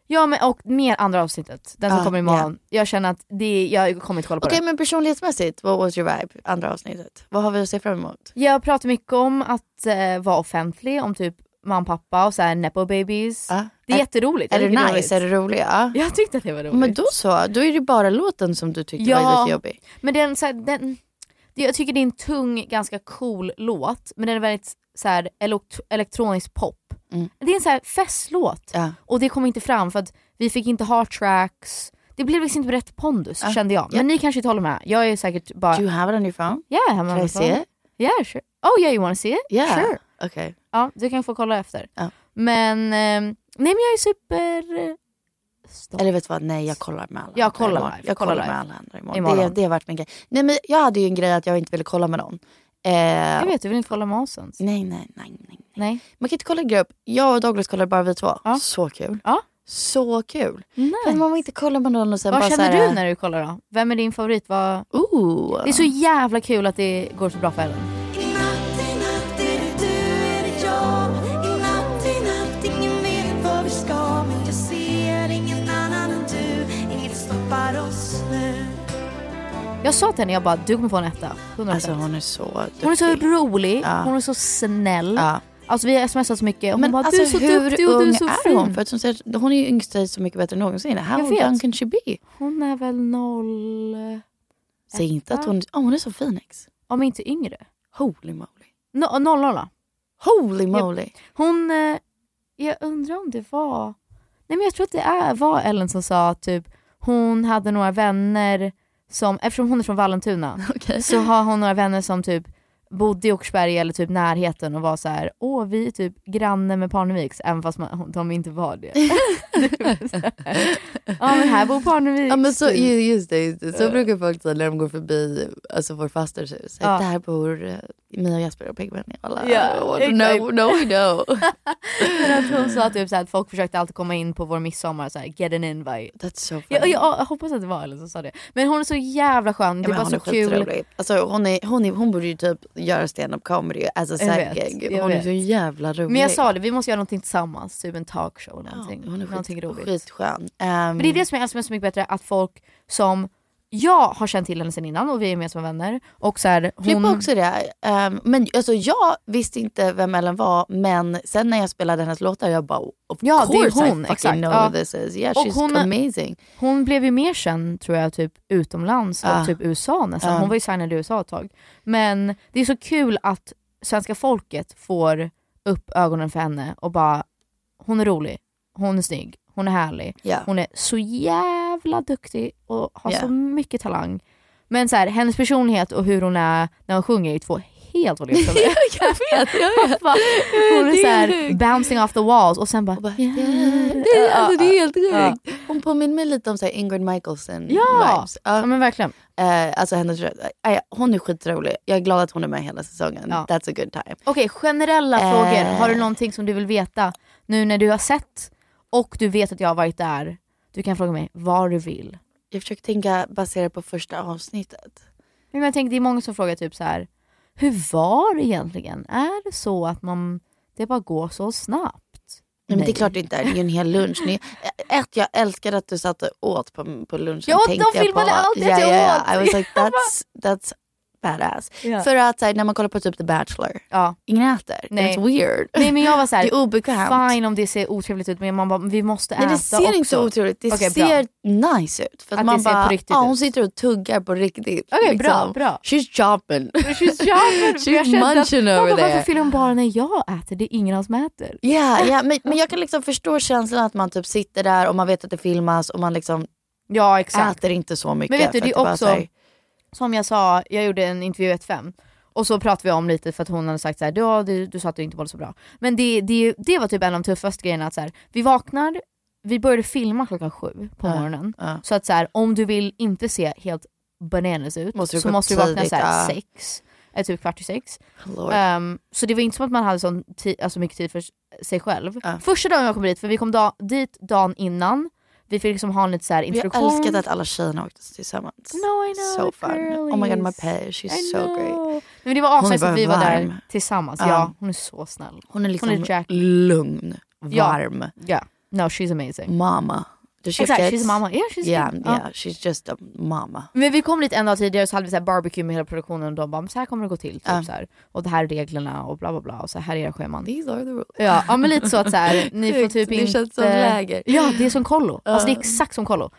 Speaker 5: Ja men och mer andra avsnittet, den som
Speaker 6: Ah,
Speaker 5: kommer imorgon. Jag känner att det, jag kommer inte kolla på
Speaker 6: Okej
Speaker 5: det.
Speaker 6: men personlighetsmässigt, what was your vibe? Andra avsnittet. Vad har vi att se fram emot?
Speaker 5: Jag pratar mycket om att eh, vara offentlig, om typ mamma och pappa och så här nepo babies. det är jätteroligt.
Speaker 6: Ah. Är
Speaker 5: Jag
Speaker 6: det
Speaker 5: tycker
Speaker 6: nice? Är det roligt? Ja.
Speaker 5: Jag tyckte att det var roligt.
Speaker 6: Men då så, då är det bara låten som du tyckte var lite jobbig.
Speaker 5: Men den, så här, den, det- jag tycker det är en tung, ganska cool låt, men den är väldigt så här, elekt- elektronisk pop.
Speaker 6: Mm.
Speaker 5: Det är en så här festlåt och det kom inte fram för att vi fick inte ha tracks. Det blev liksom inte rätt pondus
Speaker 6: Ja.
Speaker 5: kände jag. Men
Speaker 6: Ja.
Speaker 5: ni kanske inte håller med. Jag är säkert bara...
Speaker 6: Do you have it on your phone?
Speaker 5: Yeah, I'm
Speaker 6: Can
Speaker 5: on
Speaker 6: I
Speaker 5: the
Speaker 6: see
Speaker 5: phone.
Speaker 6: it?
Speaker 5: Yeah, sure. Oh yeah, you wanna see it?
Speaker 6: Yeah.
Speaker 5: Sure.
Speaker 6: Okay.
Speaker 5: Ja, du kan få kolla efter. Men, ehm, nej men jag är super... eh,
Speaker 6: Eller vet du vad, nej jag kollar med alla
Speaker 5: Jag
Speaker 6: andra
Speaker 5: kollar
Speaker 6: imorgon.
Speaker 5: live,
Speaker 6: Jag
Speaker 5: kollar
Speaker 6: kollar med
Speaker 5: live.
Speaker 6: alla andra imorgon.
Speaker 5: Imorgon.
Speaker 6: Det, det har varit min grej. Nej, men jag hade ju en grej att jag inte ville kolla med någon. Eh,
Speaker 5: Jag vet, du vill inte kolla med oss ens.
Speaker 6: Nej, nej, nej. nej.
Speaker 5: nej.
Speaker 6: Man kan inte kolla i grupp. Jag och Douglas kollade bara vi två. Så kul. Så kul. Men man vill inte kolla med någon och sen
Speaker 5: Vad
Speaker 6: bara
Speaker 5: känner
Speaker 6: så här,
Speaker 5: du när du kollar då? Vem är din favorit? Vad...
Speaker 6: Ooh.
Speaker 5: Det är så jävla kul att det går så bra för Ellen. Jag sa till henne, jag bara du kommer få en etta. 100%.
Speaker 6: Alltså hon är så duktig.
Speaker 5: Hon är så rolig,
Speaker 6: Ja.
Speaker 5: hon är så snäll.
Speaker 6: Ja.
Speaker 5: Alltså vi har smsat så mycket och hon
Speaker 6: Men
Speaker 5: bara
Speaker 6: alltså
Speaker 5: du är så
Speaker 6: hur
Speaker 5: duktig och
Speaker 6: ung
Speaker 5: du är så
Speaker 6: är
Speaker 5: fin.
Speaker 6: hon? För att hon, säger, hon är ju yngst tjej så mycket bättre än någonsin. How
Speaker 5: Jag vet.
Speaker 6: young can she be?
Speaker 5: Hon är väl noll...
Speaker 6: Säg inte att hon, oh, hon är som Phoenix.
Speaker 5: Om inte yngre.
Speaker 6: Holy moly.
Speaker 5: No, noll nolla.
Speaker 6: Holy moly.
Speaker 5: Hon, eh, jag undrar om det var, nej men jag tror att det är, var Ellen som sa att typ, hon hade några vänner som, eftersom hon är från Vallentuna, så har hon några vänner som typ bodde i Åkersberga eller typ närheten och var så här: åh vi är typ granne med Parneviks, även fast man, de inte var det. ja men här bor Parneviks. Typ.
Speaker 6: Ja men så, ju- just det, just det. så brukar folk säga när de går förbi alltså vår fasters hus.
Speaker 5: Ja.
Speaker 6: Ja. Där bor eh, Mia och Jasper och Pigman och alla.
Speaker 5: Ja,
Speaker 6: oh,
Speaker 5: exakt.
Speaker 6: no, no we know.
Speaker 5: Men att hon sa typ så här, att folk försökte alltid komma in på vår midsommar, så här, get an invite.
Speaker 6: That's so funny.
Speaker 5: Jag, jag, jag hoppas att det var Ellen som sa det. Men hon är så jävla skön,
Speaker 6: Ja,
Speaker 5: det
Speaker 6: men
Speaker 5: var
Speaker 6: hon
Speaker 5: så
Speaker 6: är
Speaker 5: kul.
Speaker 6: skitrolig. Alltså, hon, är, hon, är, hon borde ju typ göra stand-up comedy as a
Speaker 5: Jag
Speaker 6: side
Speaker 5: vet,
Speaker 6: gig.
Speaker 5: jag
Speaker 6: Hon är
Speaker 5: vet.
Speaker 6: så jävla rolig.
Speaker 5: Men jag sa det, vi måste göra någonting tillsammans, typ en talkshow eller någonting.
Speaker 6: hon är
Speaker 5: någonting
Speaker 6: skit,
Speaker 5: roligt.
Speaker 6: skitskön. Um,
Speaker 5: Men det är det som jag älskar med Så mycket bättre, att folk som jag har känt till henne sen innan och vi är med som vänner och så här, hon...
Speaker 6: Flippa också det. Ehm, men alltså, jag visste inte vem Ellen var men sen när jag spelade hennes låtar jag bara of
Speaker 5: Ja, det är
Speaker 6: course
Speaker 5: hon,
Speaker 6: I fucking
Speaker 5: exakt.
Speaker 6: know
Speaker 5: Ja.
Speaker 6: who this is. Yeah,
Speaker 5: Och
Speaker 6: she's
Speaker 5: hon-
Speaker 6: amazing.
Speaker 5: Hon blev ju mer känd tror jag typ utomlands
Speaker 6: Ja.
Speaker 5: och typ USA nästan.
Speaker 6: Ja.
Speaker 5: Hon var ju signad i USA ett tag. Men det är så kul att svenska folket får upp ögonen för henne och bara hon är rolig, hon är snygg, hon är härlig,
Speaker 6: Ja.
Speaker 5: hon är så jävla duktig och har
Speaker 6: Ja.
Speaker 5: så mycket talang. Men så här, hennes personlighet och hur hon är när hon sjunger är ju två helt olika saker.
Speaker 6: jag vet, jag vet.
Speaker 5: Bara, Hon är
Speaker 6: Det är
Speaker 5: såhär
Speaker 6: sjukt.
Speaker 5: bouncing off the walls och sen bara... yeah.
Speaker 6: Det, är- alltså, det är helt
Speaker 5: Ja.
Speaker 6: sjukt. Hon påminner mig lite om så här, Ingrid Michaelson
Speaker 5: Ja.
Speaker 6: vibes. Ja.
Speaker 5: men verkligen.
Speaker 6: alltså hennes röst. Aj, hon är skitrolig. Jag är glad att hon är med hela säsongen.
Speaker 5: Ja.
Speaker 6: That's a good time.
Speaker 5: Okej, generella
Speaker 6: Eh.
Speaker 5: frågor. Har du någonting som du vill veta nu när du har sett och du vet att jag har varit där? Du kan fråga mig vad du vill.
Speaker 6: Jag försöker tänka baserat på första avsnittet.
Speaker 5: Men jag tänker, det är många som frågar typ så här. hur var det egentligen? Är det så att man, det bara går så snabbt?
Speaker 6: Nej, men det
Speaker 5: Nej.
Speaker 6: är klart det inte är. Det är ju en hel lunch. Ni, ett, jag älskar att du satt och åt på, på lunchen.
Speaker 5: Jag åt- de
Speaker 6: tänkte
Speaker 5: filmade
Speaker 6: på.
Speaker 5: allt jag
Speaker 6: Ja,
Speaker 5: åt.
Speaker 6: ja, ja. I was like,
Speaker 5: Jag bara-
Speaker 6: that's, that's badass.
Speaker 5: Ja.
Speaker 6: För att så här, när man kollar på typ The Bachelor,
Speaker 5: ja.
Speaker 6: ingen äter.
Speaker 5: Nej.
Speaker 6: It's weird.
Speaker 5: Nej men jag var så här,
Speaker 6: det är obekvämt.
Speaker 5: fine om det ser otrevligt ut men man bara, vi måste äta
Speaker 6: Nej, det ser inte
Speaker 5: också.
Speaker 6: så otroligt Det
Speaker 5: Okej, bra.
Speaker 6: ser nice ut. För att,
Speaker 5: Att det
Speaker 6: man
Speaker 5: ser
Speaker 6: bara,
Speaker 5: på riktigt
Speaker 6: ja,
Speaker 5: ut.
Speaker 6: hon sitter och tuggar på riktigt.
Speaker 5: Okej, bra, bra.
Speaker 6: liksom. She's chopping.
Speaker 5: She's chopping.
Speaker 6: She's munching over
Speaker 5: there. Varför
Speaker 6: there.
Speaker 5: fyller hon bara när jag äter? Det är ingen annan som äter.
Speaker 6: Ja, ja, men, men jag kan liksom förstå känslan att man typ sitter där och man vet att det filmas och man liksom
Speaker 5: Ja exakt.
Speaker 6: äter inte så mycket.
Speaker 5: Men vet du,
Speaker 6: för
Speaker 5: det
Speaker 6: att
Speaker 5: är
Speaker 6: bara
Speaker 5: också,
Speaker 6: så här-
Speaker 5: som jag sa, jag gjorde en intervju i 1-5 Och så pratade vi om lite för att hon hade sagt så här, du, ja, du, du sa att du inte mådde så bra. Men det, det, det var typ en av de tuffaste grejerna att så här, vi vaknar, vi började filma klockan sju på
Speaker 6: Ja,
Speaker 5: morgonen. Så att så här, om du vill inte se helt bananas ut
Speaker 6: Måste du
Speaker 5: så
Speaker 6: gå upp
Speaker 5: måste du vakna
Speaker 6: tidigt,
Speaker 5: så här,
Speaker 6: ja.
Speaker 5: sex, eller typ kvart i sex.
Speaker 6: Lord.
Speaker 5: Ehm, så det var inte som att man hade sån ti- alltså mycket tid för s- sig själv. Första dagen jag kom dit, för vi kom da- dit dagen innan, vi fick liksom ha en lite så här
Speaker 6: Vi har
Speaker 5: introduktion.
Speaker 6: älskat att alla tjejerna åkte tillsammans.
Speaker 5: No, I know,
Speaker 6: so
Speaker 5: the
Speaker 6: fun. Oh my god, my
Speaker 5: girlies.
Speaker 6: pay, she's
Speaker 5: I
Speaker 6: so great.
Speaker 5: Nej, Men det var
Speaker 6: Hon är
Speaker 5: asnice
Speaker 6: bara
Speaker 5: att vi var
Speaker 6: varm.
Speaker 5: där tillsammans.
Speaker 6: Ja.
Speaker 5: Ja, hon är så snäll.
Speaker 6: Hon är liksom
Speaker 5: Jack.
Speaker 6: lugn,
Speaker 5: Ja.
Speaker 6: varm.
Speaker 5: Yeah. No, she's amazing.
Speaker 6: Mama. Does she
Speaker 5: Exakt,
Speaker 6: get-
Speaker 5: she's a mama. Yeah, she's
Speaker 6: yeah,
Speaker 5: good. Ja.
Speaker 6: yeah, she's just a mama.
Speaker 5: Men vi kom dit en dag tidigare och så hade vi så här barbecue med hela produktionen och de bara, "Men så här kommer det gå till. Typ, så här. Och det här är reglerna och bla bla bla och så här är era scheman.
Speaker 6: These are the rules.
Speaker 5: Ja, ja men lite så att så här, ni får
Speaker 6: Sjukt,
Speaker 5: typ
Speaker 6: det
Speaker 5: inte...
Speaker 6: känns som läger.
Speaker 5: Ja det är som kollo. Alltså det är
Speaker 6: Ja.
Speaker 5: exakt som kollo.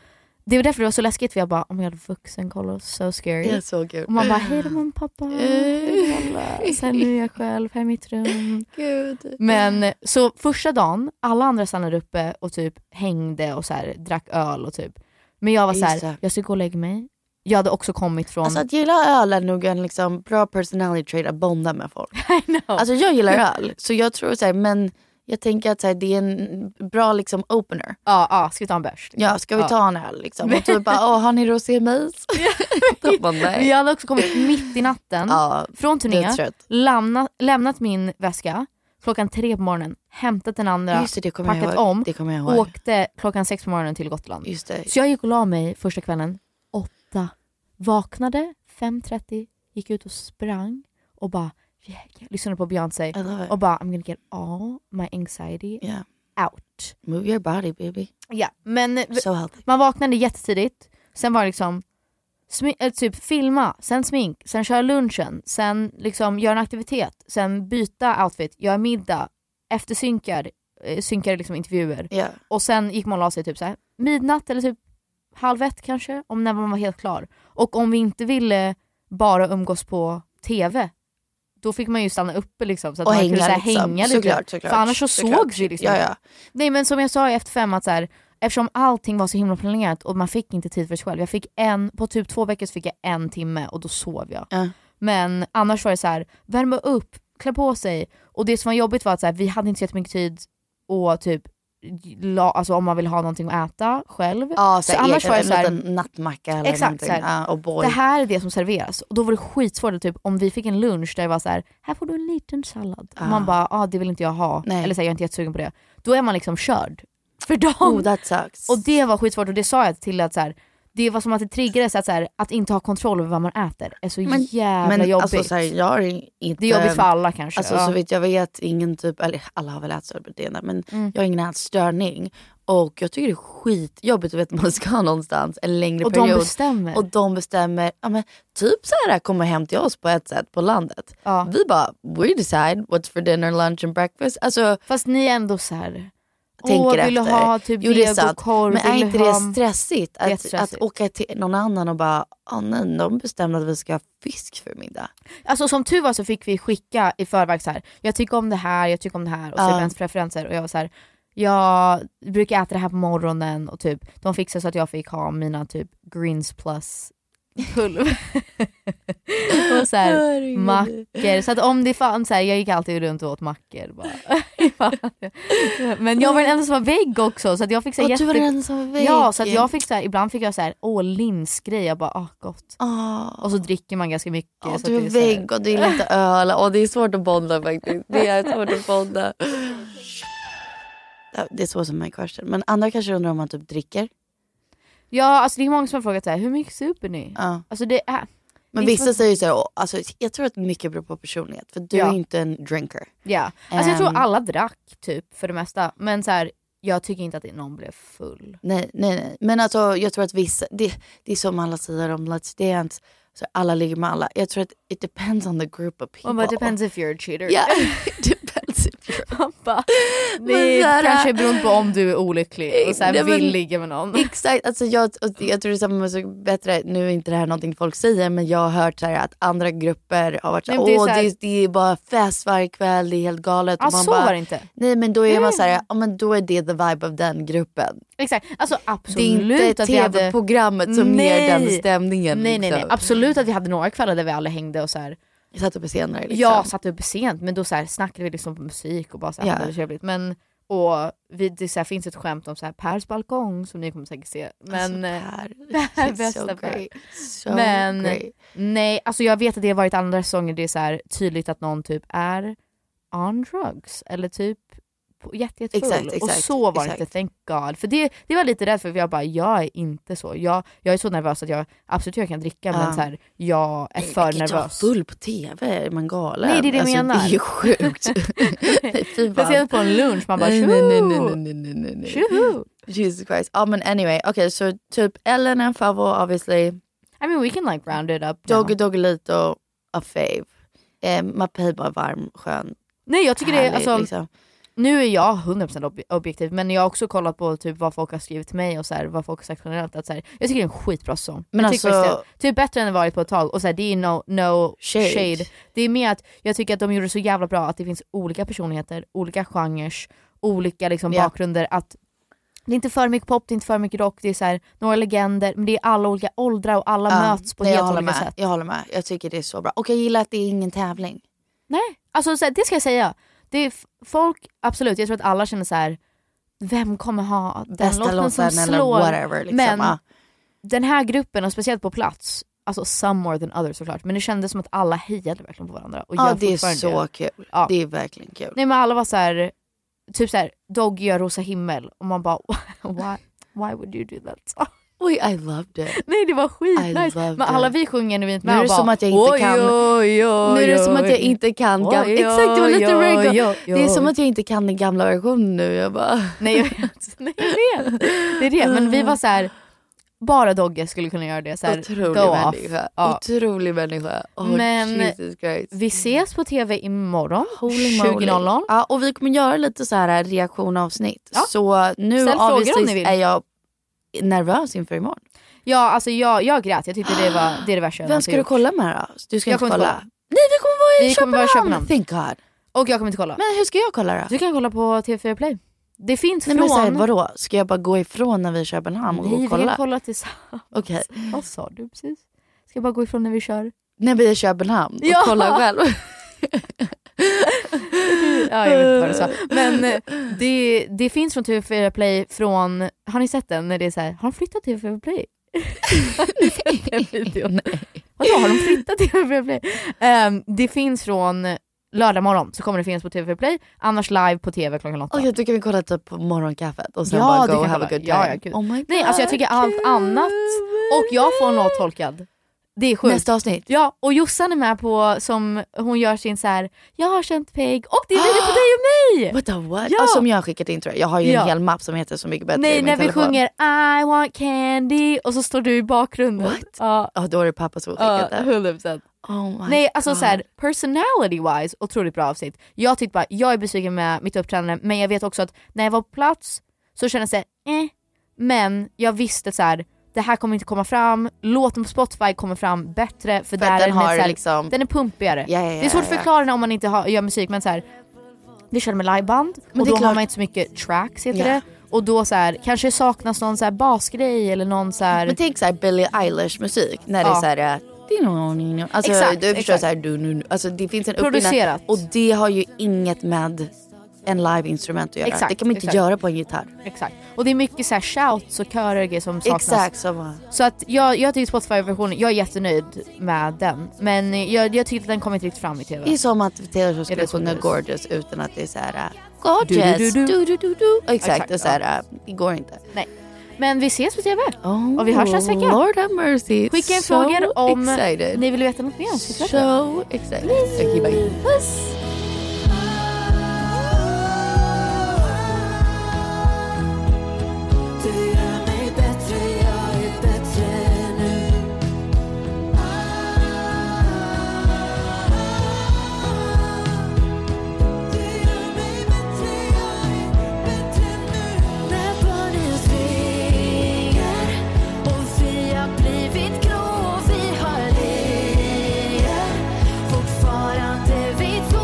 Speaker 5: Det var därför det var så läskigt för jag bara, om jag hade vuxen kollo, so scary.
Speaker 6: Det är så kul.
Speaker 5: Och man bara, hej då mamma pappa, hej då, alla. Sen nu är jag själv, här i mitt rum.
Speaker 6: Gud.
Speaker 5: Men så första dagen, alla andra stannade uppe och typ hängde och så här, drack öl och typ. Men jag var så
Speaker 6: Just
Speaker 5: här,
Speaker 6: det.
Speaker 5: jag ska gå och lägga mig. Jag hade också kommit från...
Speaker 6: Alltså att gilla öl är nog en liksom bra personality trait att bonda med folk. Alltså jag gillar öl, så jag tror så här, men jag tänker att så här, det är en bra liksom opener.
Speaker 5: Ja, ja, ska vi ta en bärs? liksom?
Speaker 6: Ja, ska vi
Speaker 5: Ja.
Speaker 6: ta en öl liksom? Och typ bara, åh har ni rosémejs? De bara, nej.
Speaker 5: Men jag hade också kommit mitt i natten från
Speaker 6: det
Speaker 5: turnén,
Speaker 6: är trött.
Speaker 5: lämnat, lämnat min väska klockan tre på morgonen, hämtat den andra,
Speaker 6: Just det, det kommer jag
Speaker 5: packat
Speaker 6: ihåg.
Speaker 5: om,
Speaker 6: Det kommer jag ihåg.
Speaker 5: åkte klockan sex på morgonen till Gotland.
Speaker 6: Just det.
Speaker 5: Så jag gick och la mig första kvällen, åtta, vaknade 5.30, gick ut och sprang och bara yeah, yeah, lyssnade på Beyoncé och bara I'm gonna get all my anxiety
Speaker 6: Yeah.
Speaker 5: out.
Speaker 6: Move your body baby.
Speaker 5: Ja, men
Speaker 6: So healthy.
Speaker 5: man vaknade jättetidigt, sen var det liksom smi- eh, typ filma, sen smink, sen köra lunchen, sen liksom göra en aktivitet, sen byta outfit, göra middag, eftersynkar, eh, synkar liksom intervjuer.
Speaker 6: Ja.
Speaker 5: Och sen gick man och la sig typ så här, midnatt eller typ halv ett kanske, om när man var helt klar. Och om vi inte ville bara umgås på tv, då fick man ju stanna uppe liksom, så att
Speaker 6: Och
Speaker 5: man kunde
Speaker 6: hänga
Speaker 5: så här,
Speaker 6: liksom.
Speaker 5: hänga lite.
Speaker 6: Såklart, såklart,
Speaker 5: För annars så
Speaker 6: såklart.
Speaker 5: sågs vi liksom
Speaker 6: Ja, ja.
Speaker 5: inte. Nej men som jag sa efter fem att så här, eftersom allting var så himla planerat och man fick inte tid för sig själv. Jag fick en, på typ två veckor så fick jag en timme och då sov jag.
Speaker 6: Ja.
Speaker 5: Men annars var det så här, värma upp, klä på sig. Och det som var jobbigt var att så här, vi hade inte så jättemycket tid och typ La, alltså om man vill ha någonting att äta själv.
Speaker 6: Ja, så,
Speaker 5: så annars var det
Speaker 6: en
Speaker 5: så här,
Speaker 6: liten nattmacka eller
Speaker 5: Exakt,
Speaker 6: någonting.
Speaker 5: så här,
Speaker 6: Ja, och boy.
Speaker 5: det här är det som serveras. Och då var det skitsvårt typ, om vi fick en lunch där det var så här, här får du en liten sallad. Och man bara, ah, det vill inte jag ha.
Speaker 6: Nej.
Speaker 5: Eller så här, jag är inte jättesugen på det. Då är man liksom körd. För dagen.
Speaker 6: Oh that sucks.
Speaker 5: Och det var skitsvårt och det sa jag till att så här, det var som att det triggades att, så här, att inte ha kontroll över vad man äter är så jävla
Speaker 6: men
Speaker 5: jobbigt.
Speaker 6: Alltså, så här, jag har in- inte,
Speaker 5: Det är jobbigt för alla kanske,
Speaker 6: Alltså,
Speaker 5: ja.
Speaker 6: Så vitt jag vet, ingen typ, eller alla har väl ätstörningar men
Speaker 5: Mm.
Speaker 6: jag har ingen ätstörning. Och jag tycker det är skitjobbigt att veta att man ska någonstans en längre
Speaker 5: Och de
Speaker 6: period.
Speaker 5: bestämmer.
Speaker 6: Och de bestämmer, ja, men, typ så här kommer hem till oss på ett sätt på landet. Vi bara, we decide what's for dinner, lunch and breakfast. Alltså,
Speaker 5: Fast ni är ändå så här,
Speaker 6: tänker
Speaker 5: åh vill du
Speaker 6: efter.
Speaker 5: ha typ
Speaker 6: Jo, det är sant.
Speaker 5: vegokorv?
Speaker 6: Men är
Speaker 5: Vill du
Speaker 6: inte det
Speaker 5: ha-
Speaker 6: stressigt
Speaker 5: Det är
Speaker 6: att, att
Speaker 5: stressigt.
Speaker 6: åka till någon annan och bara, åh nej, de bestämde att vi ska ha fisk för middag.
Speaker 5: Alltså som tur var så fick vi skicka i förväg så här. jag tycker om det här, jag tycker om det här och så
Speaker 6: Ja.
Speaker 5: uh. ens preferenser och jag var så här. jag brukar äta det här på morgonen och typ de fixade så att jag fick ha mina typ greens plus pulver. och så här,
Speaker 6: Herregud.
Speaker 5: mackor. Så att om det fanns, så här, jag gick alltid runt och åt mackor bara. Men jag var den enda som var vägg också så att jag fick så här
Speaker 6: Och du var
Speaker 5: jätte-
Speaker 6: den enda som var vägg.
Speaker 5: Ja så att jag fick så här, ibland fick jag så här, åh linsgrej, jag bara ah gott. Och så dricker man ganska mycket. så
Speaker 6: Ja,
Speaker 5: att
Speaker 6: du
Speaker 5: det
Speaker 6: är
Speaker 5: är så här-
Speaker 6: vägg och du gillar inte öl. Och det är svårt att bonda faktiskt. Det är svårt att bonda. Det är så som my question. Men andra kanske undrar om man typ dricker.
Speaker 5: Ja, alltså det är många som har frågat så här, hur mycket super ni?
Speaker 6: Ja.
Speaker 5: Alltså det är...
Speaker 6: Men
Speaker 5: det är
Speaker 6: vissa
Speaker 5: så-
Speaker 6: säger så här, "Åh, alltså, jag tror att mycket beror på personlighet. För du
Speaker 5: Mm. Ja.
Speaker 6: är inte en drinker.
Speaker 5: Ja, alltså jag
Speaker 6: Ehm.
Speaker 5: tror alla drack typ för det mesta. Men så här, jag tycker inte att någon blev full.
Speaker 6: Nej, nej, nej. Men alltså, jag tror att vissa, det, det är som alla säger om Let's Dance, så alla ligger med alla. Jag tror att it depends on the group of people.
Speaker 5: Man bara, depends if you're a cheater.
Speaker 6: Yeah, it depends if you're...
Speaker 5: Man bara,
Speaker 6: Men
Speaker 5: det
Speaker 6: så här-
Speaker 5: kanske beror på om du är olycklig och så här,
Speaker 6: Nej, men-
Speaker 5: vill ligga med någon.
Speaker 6: Exakt, alltså jag, och jag tror det är samma med så bättre, nu är inte det här någonting folk säger men jag har hört så här att andra grupper har varit så här,
Speaker 5: Nej, men det är
Speaker 6: åh
Speaker 5: så här-
Speaker 6: det, är- det är bara fest varje kväll, det är helt galet.
Speaker 5: Ja,
Speaker 6: Och man
Speaker 5: så
Speaker 6: bara,
Speaker 5: var det inte.
Speaker 6: Nej men då är man så här, ja men då är det the vibe of den gruppen.
Speaker 5: Exakt, alltså
Speaker 6: Det är
Speaker 5: absolut
Speaker 6: inte
Speaker 5: att vi hade...
Speaker 6: tv-programmet som ger den stämningen.
Speaker 5: Nej nej nej,
Speaker 6: liksom.
Speaker 5: absolut att vi hade några kvällar där vi alla hängde och så här.
Speaker 6: Jag satt uppe senare. Liksom.
Speaker 5: Jag satt upp sent men då så här, snackade vi liksom på musik och bara så här,
Speaker 6: Ja.
Speaker 5: hade det trevligt. Men, och vi, det så här, finns ett skämt om så här, Pers balkong som ni kommer säkert se. Men, eh,
Speaker 6: Alltså,
Speaker 5: Per,
Speaker 6: It's
Speaker 5: bästa
Speaker 6: so
Speaker 5: Per.
Speaker 6: great. So
Speaker 5: men
Speaker 6: great.
Speaker 5: nej, alltså jag vet att det har varit andra säsonger det är så här, tydligt att någon typ är on drugs eller typ på- jätte, jättefull.
Speaker 6: Exakt,
Speaker 5: och
Speaker 6: exakt,
Speaker 5: så var det
Speaker 6: exakt.
Speaker 5: inte, thank god. För det, det var jag lite rädd för, för jag bara, jag är inte så. Jag, jag är så nervös att jag absolut jag kan dricka
Speaker 6: Ja.
Speaker 5: men så här, jag är
Speaker 6: Ah. Nej,
Speaker 5: för
Speaker 6: man kan inte vara
Speaker 5: nervös.
Speaker 6: full på tv, är man galen?
Speaker 5: Nej det är det jag
Speaker 6: Alltså,
Speaker 5: menar.
Speaker 6: Det är ju sjukt. Nej, fy fan.
Speaker 5: Speciellt på en lunch, man bara
Speaker 6: nej, nej, nej, nej,
Speaker 5: tjoho!
Speaker 6: nej, nej, nej, nej, nej.
Speaker 5: Tjoho!
Speaker 6: Jesus Christ. Ja men anyway, okej så typ Ellen är en favorit obviously.
Speaker 5: I mean we can like round it up now.
Speaker 6: Doggy Doggelito, a fave. Eh, Mapei bara varm, skön.
Speaker 5: Nej jag tycker det är,
Speaker 6: härlig,
Speaker 5: alltså,
Speaker 6: liksom.
Speaker 5: nu är jag 100% ob- objektiv men jag har också kollat på typ vad folk har skrivit till mig och så här, vad folk har sagt generellt. Att så här, jag tycker det är en skitbra säsong.
Speaker 6: Men
Speaker 5: jag tycker
Speaker 6: alltså-
Speaker 5: faktiskt det. Typ bättre än det varit på ett tag och så här, det är no, no shade.
Speaker 6: Shade.
Speaker 5: Det är mer att jag tycker att de gjorde det så jävla bra att det finns olika personligheter, olika genrer, olika liksom,
Speaker 6: Ja.
Speaker 5: bakgrunder. Att det är inte för mycket pop, det är inte för mycket rock, det är så här, några legender, men det är alla olika åldrar och alla
Speaker 6: Ja,
Speaker 5: möts på
Speaker 6: nej, jag
Speaker 5: helt
Speaker 6: håller
Speaker 5: olika
Speaker 6: med.
Speaker 5: sätt.
Speaker 6: Jag håller med, jag tycker det är så bra. Och jag gillar att det är ingen tävling.
Speaker 5: Nej, alltså så här, det ska jag säga. Det är f- folk, absolut, jag tror att alla känner så här. vem kommer ha den
Speaker 6: Bästa
Speaker 5: låten som
Speaker 6: låten eller
Speaker 5: slår?
Speaker 6: whatever. Liksom.
Speaker 5: Men
Speaker 6: Ja.
Speaker 5: den här gruppen, och speciellt på plats, alltså some more than others såklart, men det kändes som att alla hejade verkligen på varandra. Och
Speaker 6: Ja
Speaker 5: gör
Speaker 6: det är
Speaker 5: fortfarande
Speaker 6: så
Speaker 5: det.
Speaker 6: kul.
Speaker 5: Ja.
Speaker 6: Det är verkligen kul.
Speaker 5: Nej men alla var så här, typ så här, Doggy gör rosa himmel och man bara why, why would you do that?
Speaker 6: Oj I loved it.
Speaker 5: Nej det var
Speaker 6: I
Speaker 5: skitnice.
Speaker 6: loved
Speaker 5: Men alla
Speaker 6: it.
Speaker 5: vi sjunger nu inte
Speaker 6: Nu
Speaker 5: med
Speaker 6: är
Speaker 5: och
Speaker 6: det
Speaker 5: bara,
Speaker 6: som att jag inte
Speaker 5: oj,
Speaker 6: kan-
Speaker 5: Oj, oj,
Speaker 6: Nu är det som
Speaker 5: oj.
Speaker 6: att jag inte kan
Speaker 5: Oj,
Speaker 6: gamla...
Speaker 5: oj,
Speaker 6: Exakt, det var lite
Speaker 5: oj,
Speaker 6: Ringo.
Speaker 5: oj, oj.
Speaker 6: Det är som att jag inte kan den gamla versionen nu. Jag bara...
Speaker 5: Nej jag vet, nej, jag vet. Det är det, men vi var så här. bara Dogge skulle kunna göra det. Så här,
Speaker 6: Otrolig
Speaker 5: go off.
Speaker 6: människa.
Speaker 5: Ja.
Speaker 6: Otrolig människa. Oh,
Speaker 5: Men-
Speaker 6: Jesus Christ.
Speaker 5: Vi ses på TV imorgon
Speaker 6: Holy moly.
Speaker 5: 20.00.
Speaker 6: Ja, och vi kommer göra lite så här reaktionavsnitt.
Speaker 5: Ja.
Speaker 6: Så nu
Speaker 5: Ställ frågor om
Speaker 6: obviously
Speaker 5: ni vill.
Speaker 6: är jag nervös inför imorgon.
Speaker 5: Ja alltså jag, jag grät, jag tyckte det var det, är det värsta jag
Speaker 6: Vem ska
Speaker 5: någonsin
Speaker 6: du
Speaker 5: gjort.
Speaker 6: kolla med då? Du ska
Speaker 5: Jag
Speaker 6: inte
Speaker 5: kommer
Speaker 6: kolla.
Speaker 5: inte kolla.
Speaker 6: Nej vi kommer vara i
Speaker 5: Vi kommer
Speaker 6: Köpenhamn.
Speaker 5: vara i Köpenhamn.
Speaker 6: Thank God.
Speaker 5: Och jag kommer inte kolla.
Speaker 6: Men hur ska jag kolla då?
Speaker 5: Du kan kolla på TV4 Play. Det finns
Speaker 6: Nej, men
Speaker 5: från...
Speaker 6: så här, vadå? Ska jag bara gå ifrån när vi är i Köpenhamn och
Speaker 5: Nej,
Speaker 6: gå
Speaker 5: vi
Speaker 6: och
Speaker 5: kan
Speaker 6: kolla?
Speaker 5: kolla tillsammans.
Speaker 6: Okej.
Speaker 5: Vad sa du precis? Ska jag bara gå ifrån när vi kör?
Speaker 6: När vi är i Köpenhamn och
Speaker 5: Ja.
Speaker 6: kolla själv.
Speaker 5: Ja, jag vet inte vad du sa. Men eh, det, det finns från TV4 Play från, har ni sett den? När det är så här, har de flyttat TV4 Play? Har ni sett den videon? Vadå, har de flyttat TV4 Play? Ehm, det finns från lördag morgon så kommer det finnas på TV4 Play, annars live på TV klockan åtta.
Speaker 6: Okej, då kan vi kolla typ på morgonkaffet och sen
Speaker 5: Ja,
Speaker 6: bara
Speaker 5: det
Speaker 6: go
Speaker 5: kan
Speaker 6: have a
Speaker 5: kolla.
Speaker 6: good time.
Speaker 5: Ja, ja, gud.
Speaker 6: oh my God.
Speaker 5: Nej alltså jag tycker allt annat och jag får en låt tolkad. Det är sjukt.
Speaker 6: Nästa avsnitt.
Speaker 5: Ja och Jossan är med på som hon gör sin så här. jag har känt Peg och det är video på dig och mig!
Speaker 6: Ah! What the what?
Speaker 5: Ja.
Speaker 6: Ja. som jag har skickat in tror jag. Jag har ju en
Speaker 5: Ja.
Speaker 6: hel mapp som heter Så mycket bättre i
Speaker 5: Nej
Speaker 6: min
Speaker 5: när vi
Speaker 6: telefon.
Speaker 5: sjunger I want candy och så står du i bakgrunden.
Speaker 6: What?
Speaker 5: Ja,
Speaker 6: Ja, då är det pappa som har
Speaker 5: ja,
Speaker 6: skickat det.
Speaker 5: 100%.
Speaker 6: Oh my
Speaker 5: Nej alltså
Speaker 6: God.
Speaker 5: såhär personality wise, otroligt bra avsnitt. Jag tyckte bara, jag är besviken med mitt uppträdande men jag vet också att när jag var på plats så kändes det eh. Men jag visste så här. det här kommer inte komma fram, låten på Spotify kommer fram bättre för,
Speaker 6: För
Speaker 5: där
Speaker 6: att den
Speaker 5: är så
Speaker 6: har
Speaker 5: här,
Speaker 6: liksom...
Speaker 5: den är pumpigare.
Speaker 6: Ja, ja, ja,
Speaker 5: det är svårt att
Speaker 6: ja.
Speaker 5: förklara den om man inte har, gör musik men så här. vi körde med liveband
Speaker 6: Men
Speaker 5: och
Speaker 6: det är
Speaker 5: då har
Speaker 6: klart.
Speaker 5: man inte så mycket tracks heter
Speaker 6: Ja.
Speaker 5: det. Och då så här, kanske saknas någon så här basgrej eller någon så här...
Speaker 6: Men tänk såhär Billie Eilish musik när
Speaker 5: Ja.
Speaker 6: det är såhär... eh, Alltså
Speaker 5: Exakt,
Speaker 6: du förstår
Speaker 5: exakt.
Speaker 6: såhär... Du, nu, nu. Alltså, det finns en uppbyggnad
Speaker 5: Producerat.
Speaker 6: och det har ju inget med en live-instrument att göra.
Speaker 5: Exakt,
Speaker 6: det kan man inte
Speaker 5: exakt.
Speaker 6: göra på en gitarr.
Speaker 5: Exakt. Och det är mycket så här shouts och körer och grejer som saknas.
Speaker 6: Exakt samma.
Speaker 5: Så att jag, jag tycker Spotify-versionen, jag är jättenöjd med den. Men jag, jag tycker att den kommer inte riktigt fram i TV.
Speaker 6: Det är som att Taylor Swift
Speaker 5: Eller
Speaker 6: skulle sjunga
Speaker 5: som det är.
Speaker 6: Gorgeous utan att det är såhär... eh,
Speaker 5: Du, du,
Speaker 6: Gorgeous!
Speaker 5: du, du.
Speaker 6: Du, du, du, du.
Speaker 5: Exakt,
Speaker 6: Exakt, och såhär... eh, Det går inte.
Speaker 5: Nej. Men vi ses på TV!
Speaker 6: Oh,
Speaker 5: Och vi hörs nästa vecka.
Speaker 6: Lord have mercy.
Speaker 5: Skicka in
Speaker 6: so
Speaker 5: frågor om
Speaker 6: excited.
Speaker 5: ni vill veta något mer om Cykelrätten.
Speaker 6: So excited. Okay, bye.
Speaker 7: Du gör mig bättre, jag är bättre nu Du gör mig bättre, jag är bättre nu När barnen svingar och vi har blivit grå och vi har legat Fortfarande vi två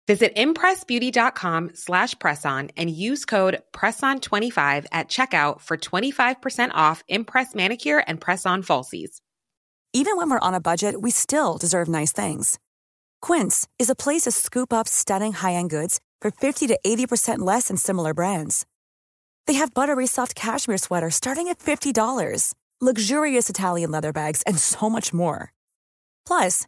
Speaker 8: Visit impressbeauty.com slash presson and use code presson25 at checkout for 25% off Impress manicure and press-on falsies.
Speaker 9: Even when we're on a budget, we still deserve nice things. Quince is a place to scoop up stunning high-end goods for 50 to 80% less than similar brands. They have buttery soft cashmere sweaters starting at $50, luxurious Italian leather bags, and so much more. Plus,